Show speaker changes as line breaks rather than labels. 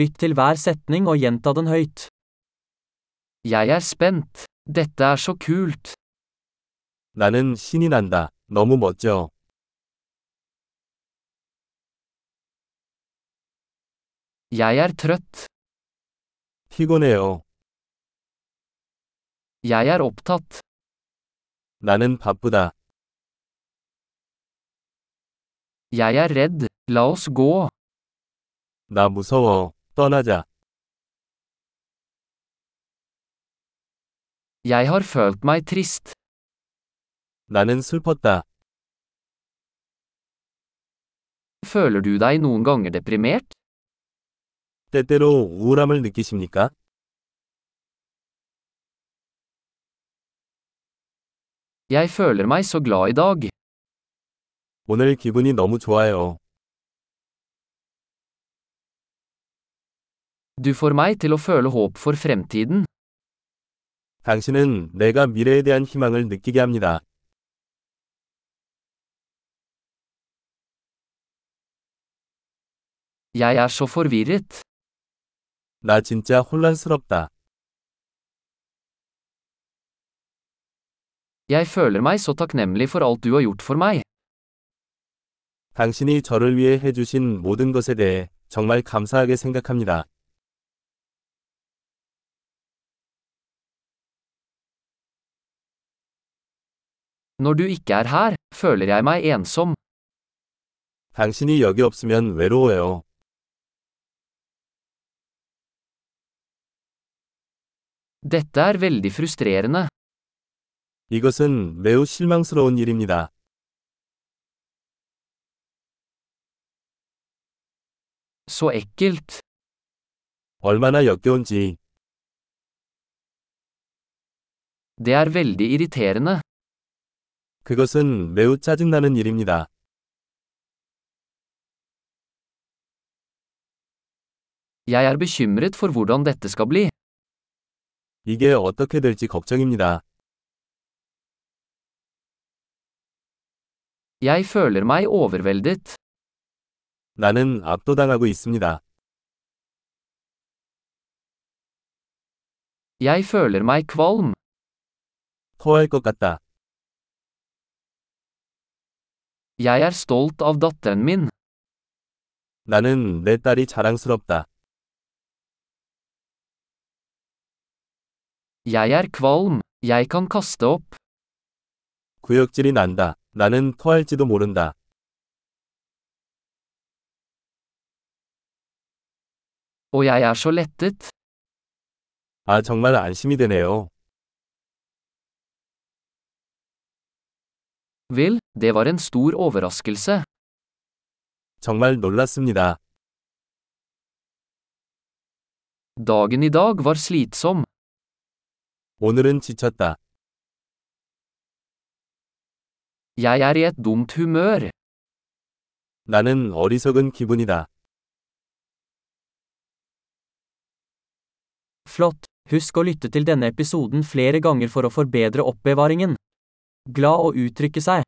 Lytt til hver setning og gjenta den høyt. Jeg er spent. Dette er så kult.
나는 신이 난다. 너무 멋져.
Jeg er trøtt.
피곤해요.
Jeg er opptatt.
나는 바쁘다.
Jeg er redd. La oss gå.
나 무서워. 떠나자.
Jeg har følt meg trist.
나는 슬펐다.
Føler du deg noen ganger deprimert?
때때로 우울함을 느끼십니까?
Jeg føler meg så glad i dag.
오늘 기분이 너무 좋아요.
Du får meg til å føle håp for fremtiden.
당신은 내가 미래에 대한 희망을 느끼게 합니다.
Jeg er så forvirret.
나 진짜 혼란스럽다.
Jeg føler meg så takknemlig for alt du har gjort for meg.
당신이 저를 위해 해주신 모든 것에 대해 정말 감사하게 생각합니다.
Når du ikke er her, føler jeg meg ensom.
당신이 여기 없으면 외로워요.
Dette er veldig frustrerende.
이것은 매우 실망스러운 일입니다.
Så ekkelt.
얼마나 역겨운지.
Det er veldig irriterende.
그것은 매우 짜증나는 일입니다.
Jeg er bekymret for hvordan dette skal bli.
이게 어떻게 될지 걱정입니다.
Jeg føler meg overveldet.
나는 압도당하고 있습니다.
Jeg føler meg kvalm.
토할 것 같다.
Jeg er stolt av datteren min.
나는 내 딸이 자랑스럽다.
Jeg er kvalm. Jeg kan kaste opp.
구역질이 난다. 나는 토할지도 모른다.
Og jeg er så lettet.
아, 정말 안심이 되네요.
Vel, det var en stor overraskelse.
정말 놀랐습니다.
Dagen i dag var slitsom.
오늘은 지쳤다.
Jeg er i et dumt humør.
나는 어리석은 기분이다.
Flott. Husk å lytte til denne episoden flere ganger for å forbedre oppbevaringen. Glad å uttrykke seg.